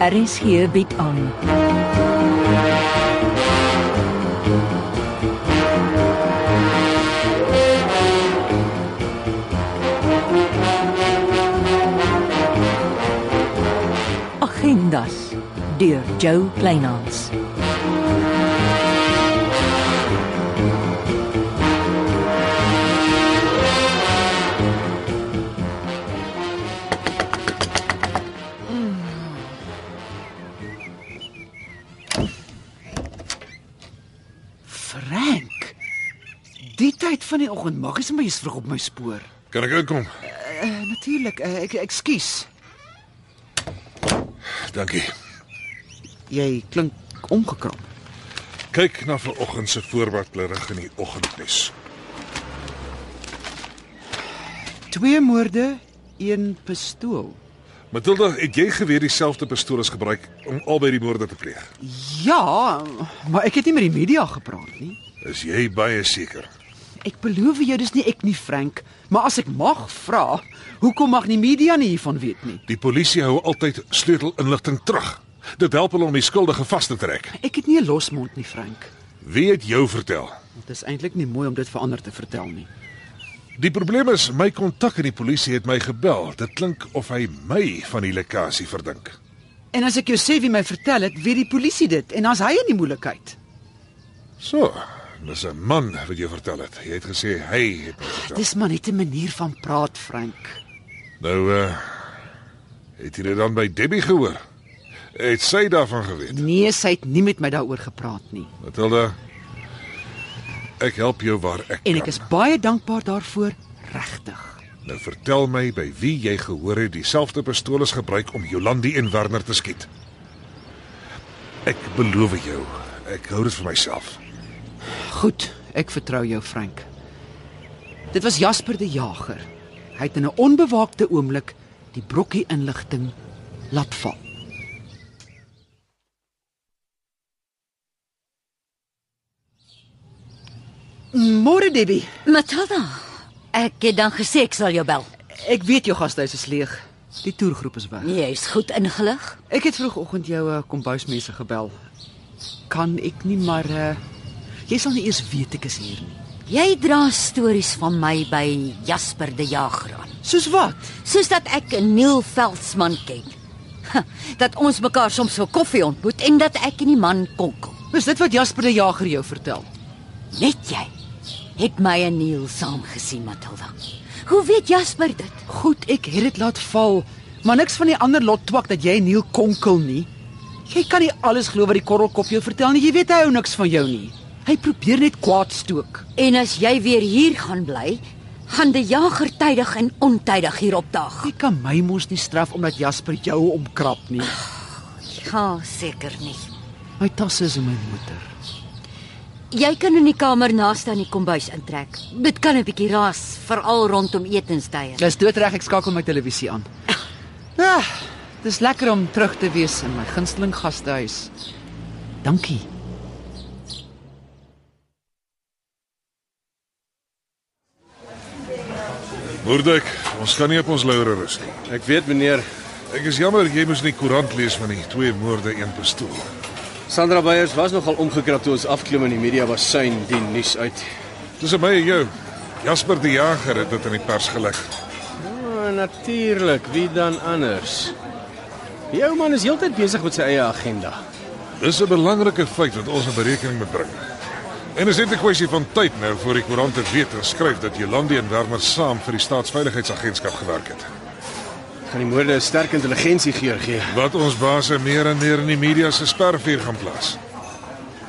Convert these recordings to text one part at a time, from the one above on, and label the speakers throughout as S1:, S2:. S1: RSG bied aan. Agendas deur Jo Kleinhans.
S2: Frank. Die tyd van die oggend maak jy sommer jy's vroeg op my spoor.
S3: Kan ek uitkom?
S2: Uh, Natuurlik, uh, ek ekskuus.
S3: Dankie.
S2: Jy klink omgekramp.
S3: Kyk na vanoggend se voorwaartlerig in die oggendnuus.
S2: Twee moorde, een pistool.
S3: Matilda, het jy geweet dieselfde pistool is gebruik om albei die moorde te pleeg?
S2: Ja, maar ek het nie met die media gepraat nie.
S3: Is jy baie seker?
S2: Ek beloof jou dis nie ek nie, Frank, maar as ek mag vra, hoekom mag die media nie hiervan weet nie?
S3: Die polisie hou altyd sleutelinligting terug. Dit help hulle om die skuldige vas te trek.
S2: Ek het nie 'n losmond nie, Frank.
S3: Wie het jou vertel?
S2: Dit is eintlik nie mooi om dit vir ander te vertel nie.
S3: Die probleem is my kontak in die polisie het my gebel. Dit klink of hy my van die lekkasie verdink.
S2: En as ek jou sê wie my vertel het, weet die polisie dit en dan's hy in die moeilikheid.
S3: So, dis 'n man wat jou vertel het. Jy het gesê hy het my vertel.
S2: Dis maar net 'n manier van praat, Frank.
S3: Nou eh uh, het jy dit dan by Debbie gehoor? Het sy daarvan geweet?
S2: Nee, sy het nie met my daaroor gepraat nie.
S3: Matilda, ek help jou waar ek
S2: En
S3: kan.
S2: ek is baie dankbaar daarvoor, regtig.
S3: Nou vertel my by wie jy gehoor het dieselfde pistool is gebruik om Jolandi en Werner te skiet. Ek beloof jou, ek hou dit vir myself.
S2: Goed, ek vertrou jou, Frank. Dit was Jasper die Jager. Hy het in 'n onbewaakte oomblik die brokkie inligting laat val. Môre Debbie,
S4: Matilda, ek het dan gesê ek sal jou bel.
S2: ek weet jou gastehuis is leeg. Die toergroep is weg.
S4: Jy is goed ingelig.
S2: Ek het vroegoggend jou eh, kombuismense gebel. Kan ek nie maar uh, jy sal nie eers weet ek is hier nie.
S4: Jy dra stories van my by Jasper die Jager aan,
S2: Soos wat?
S4: soos dat ek Neil Veldsmann ken. Ha, Dat ons mekaar soms vir koffie ontmoet en dat ek en die man konkel.
S2: Is dit wat Jasper die Jager jou vertel?
S4: Net jy het my en Neil saam gesien, Matilda. Hoe weet Jasper dit?
S2: Goed, ek het dit laat val, maar niks van die ander lot twak dat jy Neil konkel nie. Jy kan nie alles glo wat die korrelkop jou vertel nie. Jy weet hy hou niks van jou nie. Hy probeer net kwaad stook.
S4: En as jy weer hier gaan bly, gaan die jager tydig en ontydig hier opdaag.
S2: Jy kan my mos nie straf omdat Jasper jou omkrap nie.
S4: Ja, seker nie.
S2: My tasse is in my motor.
S4: Jy kan in die kamer naaste aan die kombuis intrek. Dit kan 'n bietjie raas, veral rondom etenstye.
S2: Dis doodreg ek skakel my televisie aan. Ah, dis lekker om terug te wees in my gunsteling gastehuis. Dankie.
S3: Moordek, ons kan nie op ons laure rus nie.
S5: Ek weet meneer,
S3: Ek is jammer jy moes nie koerant lees van die twee moorde een pistool.
S5: Sandra Beyers was nogal omgekrap toe ons afklim en die media was suin die nuus uit.
S3: Tussen my en jou. Jasper die Jager het dit in die pers gelek.
S5: Oh, natuurlik, wie dan anders? Jou man is heeltyd besig met sy eie agenda.
S3: Dis 'n belangrike feit wat ons in berekening moet bring. En is dit 'n kwessie van tyd nou voor die koerante weet en skryf dat Jolandi en Werner saam vir die staatsveiligheidsagentskap gewerk het.
S5: Gaan die moorde 'n sterk intelligensie geur gee.
S3: Wat ons baase meer en meer in die media se spervuur gaan plaas.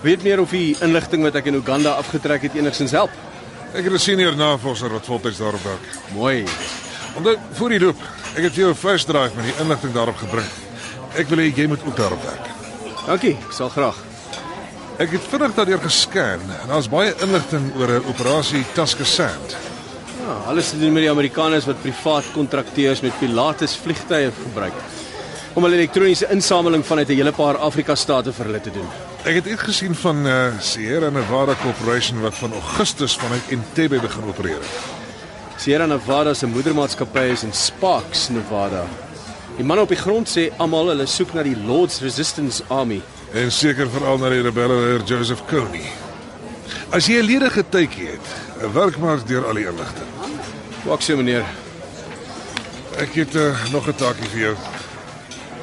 S5: Weet meer of die inligting wat ek in Uganda afgetrek het enigstens help.
S3: Ek het 'n senior navorser wat voltyds daarop werk.
S5: Mooi.
S3: Onthou, voor die loop, ek het vir jou 'n flash drive met die inligting daarop gebring. Ek wil hê jy moet ook daarop werk.
S5: Dankie, ek sal graag.
S3: Ek het vinnig daardeur gescan en daar's baie inligting oor 'n operasie Tusker Sand.
S5: Ja, alles te doen met die Amerikaners wat privaat kontrakteurs met Pilatus vliegtye gebruik om hulle elektroniese insameling vanuit 'n hele paar Afrika state vir hulle te doen.
S3: Ek het iets gesien van eh Sierra Nevada Corporation wat van Augustus vanuit Entebbe begin opereer. het.
S5: Sierra Nevada se moedermaatskappy is in Sparks, Nevada. Die manne op die grond sê almal hulle soek na die Lord's Resistance Army.
S3: En seker veral na die rebelle heer Joseph Kony. As jy 'n ledige tydjie het, werk maar deur al die inligting.
S5: Wag so meneer.
S3: Ek het eh, nog 'n taakie vir jou.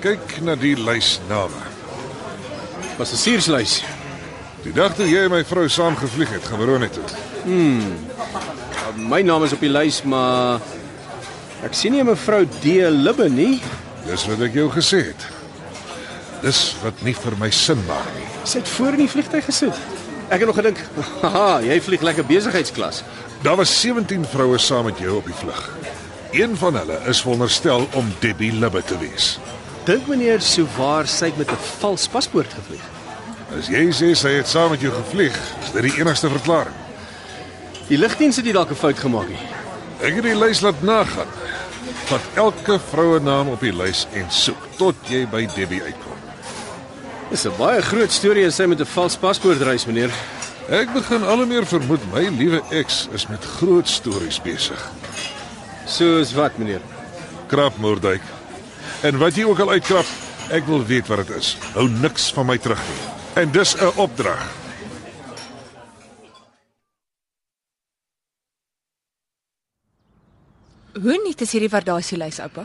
S3: Kyk na die lys name.
S5: Was 'n suurslys.
S3: Die dag toe jy en my vrou saam gevlieg het, gebeur net toe.
S5: My naam is op die lys, maar ek sien nie mevrou D Libbe nie.
S3: Dis wat ek jou gesê het. Dis wat nie vir my sin maak nie.
S5: Sy het voor in die vliegtyg gesit. Ek het nog gedink, "Haha, jy vlieg lekker besigheidsklas."
S3: Daar was 17 vroue saam met jou op die vlug. Een van hulle is veronderstel om Debbie Libbe te wees.
S5: Dink meneer Souwaar sy het met 'n vals paspoort gevlieg.
S3: As jy sê sy het saam met jou gevlieg, is dit die enigste verklaring.
S5: Die lugdiens het nie dalk 'n fout gemaak nie.
S3: Ek het die lys laat nagaan. Vat elke vrouenaam op die lys en soek tot jy by Debbie uitkom.
S5: Dis 'n baie groot storie as sy met 'n vals paspoort reis, meneer.
S3: Ek begin al hoe meer vermoed my liewe eks is met groot stories besig.
S5: Soos wat, meneer?
S3: Krapmoordduik. En wat jy ook al uitkrap, ek wil weet wat dit is. Hou niks van my terug nie. En dis 'n opdrag.
S6: Hoe nuut is hierdie waardasielys, oupa?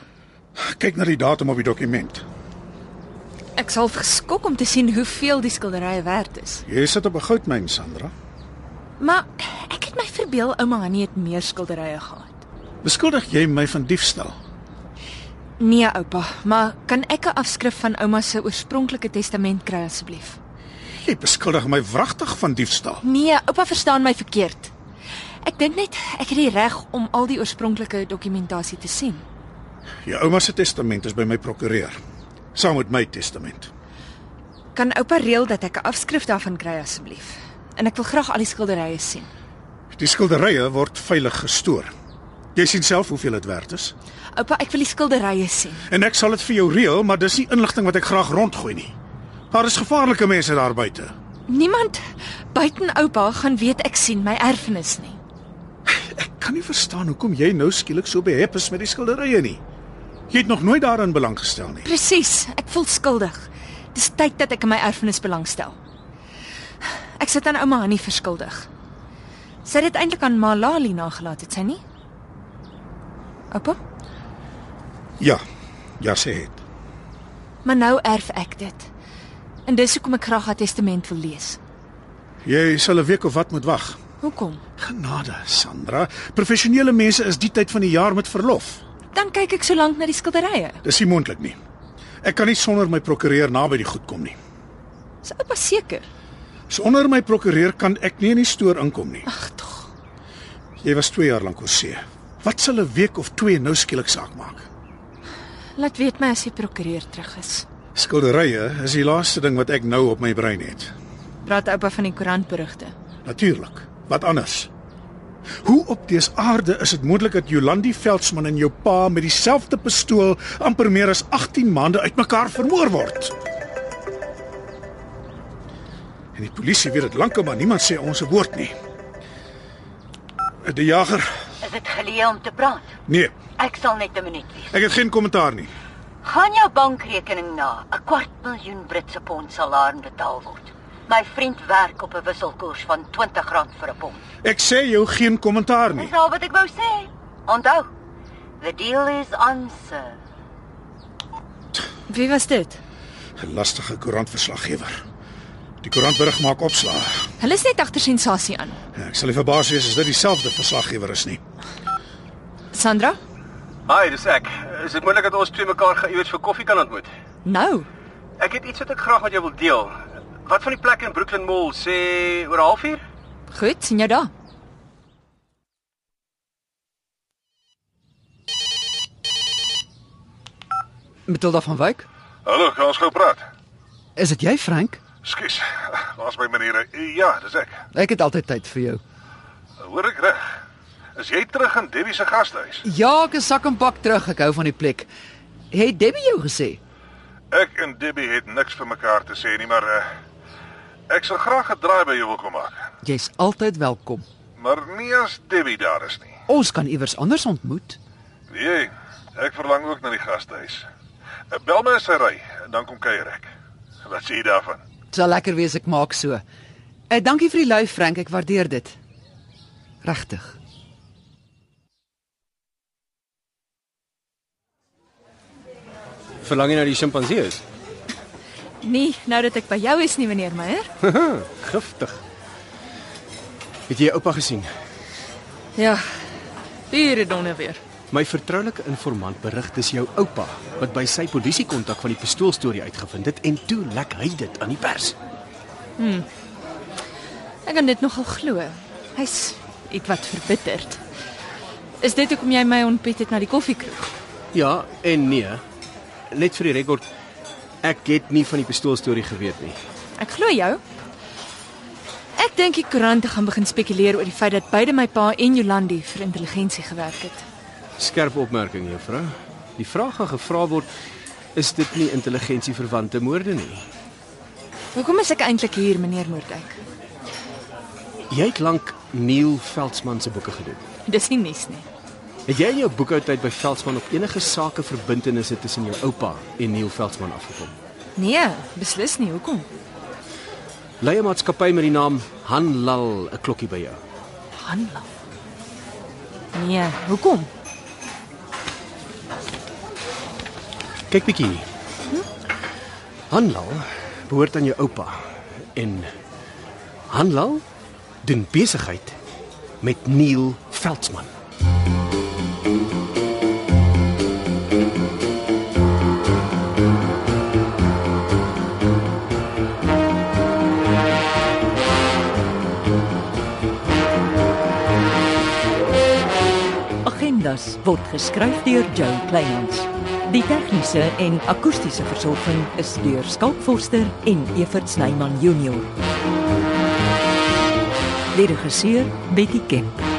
S7: Kyk na die datum op die dokument.
S6: Ek sal geskok om te sien hoeveel die skilderye werd is.
S7: Jy sit op 'n goudmyn, Sandra.
S6: Maar ek het my verbeel ouma Hannie het meer skilderye gehad.
S7: Beskuldig jy my van diefstal?
S6: Nee, oupa, maar kan ek 'n afskrif van ouma se oorspronklike testament kry asseblief?
S7: Jy beskuldig my wragtig van diefstal.
S6: Nee, oupa verstaan my verkeerd. Ek dink net ek het die reg om al die oorspronklike dokumentasie te sien.
S7: Jou ouma se testament is by my prokureur, saam met my testament.
S6: Kan oupa reël dat ek 'n afskrif daarvan kry asseblief? En ek wil graag al die skilderye sien.
S7: Die skilderye word veilig gestoor. Jy sien self hoeveel dit werd is.
S6: Oupa, ek wil die skilderye sien.
S7: En ek sal dit vir jou reël, maar dis nie inligting wat ek graag rondgooi nie. Daar is gevaarlike mense daar buite.
S6: Niemand buiten oupa gaan weet ek sien my erfenis nie.
S7: Ek kan nie verstaan hoekom jy nou skielik so behep is met die skilderye nie. Jy het nog nooit daarin belang gestel nie.
S6: Presies, ek voel skuldig. Dis tyd dat ek in my erfenis belangstel. Ek sit aan ouma Hannie verskuldig. Sy het dit eintlik aan Malali nagelaat, het sy nie? Oupa,
S7: Ja. Ja, sê dit.
S6: maar nou erf ek dit. En dis hoekom ek graag haar testament wil lees.
S7: Jy sal 'n week of wat moet wag.
S6: Hoekom?
S7: Genade, Sandra. Professionele mense is die tyd van die jaar met verlof.
S6: Dan kyk ek so lank na die skilderye.
S7: Dis nie moontlik nie. Ek kan nie sonder my prokureur naby die goed kom nie.
S6: Is oupa seker?
S7: Sonder my prokureur kan ek nie in die stoor inkom nie.
S6: Ag tog.
S7: Jy was 2 jaar lank oor see. Wat sal 'n week of 2 nou skielik saak maak?
S6: Laat weet my as die prokureur terug is.
S7: Skilderye is die laaste ding wat ek nou op my brein het.
S6: Praat oupa van die koerantberigte.
S7: Natuurlik. Wat anders? Hoe op dese aarde is dit moontlik dat Jolandi Veldsmann en jou pa met dieselfde pistool amper meer as 18 maande uitmekaar vermoor word? En die polisie weet dit lankal maar niemand sê ons 'n woord nie. Die jager?
S4: Is dit geleë om te praat?
S7: Nee,
S4: Ek sal net 'n minuut wees.
S7: ek het geen kommentaar nie.
S4: Gaan jou bankrekening na. 'n Kwart miljoen Britse pond sal daarin betaal word. My vriend werk op 'n wisselkoers van R20 vir 'n pond.
S7: Ek sê jou geen kommentaar nie.
S4: Dis al wat ek wou sê. Onthou, the deal is on, sir.
S6: Wie was dit?
S7: 'n Lastige koerantverslaggewer. Die koerantberig maak opslae.
S6: Hulle is net agter sensasie aan.
S7: Ek sal nie verbaas wees as dit dieselfde verslaggewer is nie.
S6: Sandra?
S8: Hi, dis ek. Is dit moontlik dat ons twee mekaar gou iewers vir koffie kan ontmoet?
S6: Nou.
S8: Ek het iets wat ek graag met jou wil deel. Wat van die plek in Brooklyn Mall sê oor 'n halfuur?
S6: Goed, sien jou daar.
S2: Matilda van Wyk,
S3: Hallo, gaan ons gou praat.
S2: is dit jy Frank?
S3: Skus. Waar's my maniere? Ja, dis ek.
S2: Ek het altyd tyd vir jou.
S3: Hoor ek reg? Is jy terug in Debbie se gastehuis?
S2: Ja, ek is sak en pak terug. Ek hou van die plek. Het Debbie jou gesê?
S3: Ek en Debbie het niks vir mekaar te sê nie, maar uh, ek sal graag 'n draai by jou wil kom maak.
S2: Jy's altyd welkom.
S3: Maar nie as Debbie daar is nie.
S2: Ons kan iewers anders ontmoet.
S3: Weet jy, ek verlang ook na die gastehuis. Eh, Bel my as hy ry, dan kom kuier ek. Wat sê jy daarvan?
S2: Dit sal lekker wees ek maak so. Eh dankie vir die lui Frank, ek waardeer dit. Regtig.
S5: Verlang jy na die sjimpansee is?
S6: Nee, nou dat ek by jou is nie, meneer Meyer.
S5: Giftig. Het jy oupa gesien?
S6: Ja. Diere donder weer.
S5: My vertroulike informant berig dis jou oupa wat by sy polisiekontak van die pistoolstorie uitgevind het en toe lek hy dit aan die pers.
S6: Ek kan dit nogal glo. Hy's ietwat verbitterd. Is dit hoekom jy my ontbied het na die koffiekroeg?
S5: Ja en nee. Net vir die rekord, ek het nie van die pistoolstorie geweet nie.
S6: Ek glo jou. Ek dink die koerante gaan begin spekuleer oor die feit dat beide my pa en Jolandi vir intelligensie gewerk het.
S5: Skerp opmerking, juffrou. Die vraag gaan gevra word is dit nie intelligensieverwante moorde nie?
S6: Hoekom is ek eintlik hier, meneer Moerdijk?
S5: Jy het lank Neil Veldsmann se boeke gedoen.
S6: Dis nie nuus nie.
S5: Het jy in jou boekhoutyd by Veldsmann op enige sake verbintenisse tussen jou oupa en Neil Veldsmann afgekom?
S6: Nee, beslis nie. Hoekom?
S5: Lei 'n maatskappy met die naam Hanlal 'n klokkie by jou.
S6: Handel. Nee, hoekom?
S5: Kyk bietjie hier. Hanlal behoort aan jou oupa en Hanlal doen besigheid met Neil Veldsmann.
S1: Agendas word geskryf deur Joe Kleinhans. Die tegniese en akoestiese versorging is deur Skalk Forster en Evert Snyman Junior. Die regisseur Betty Kemp.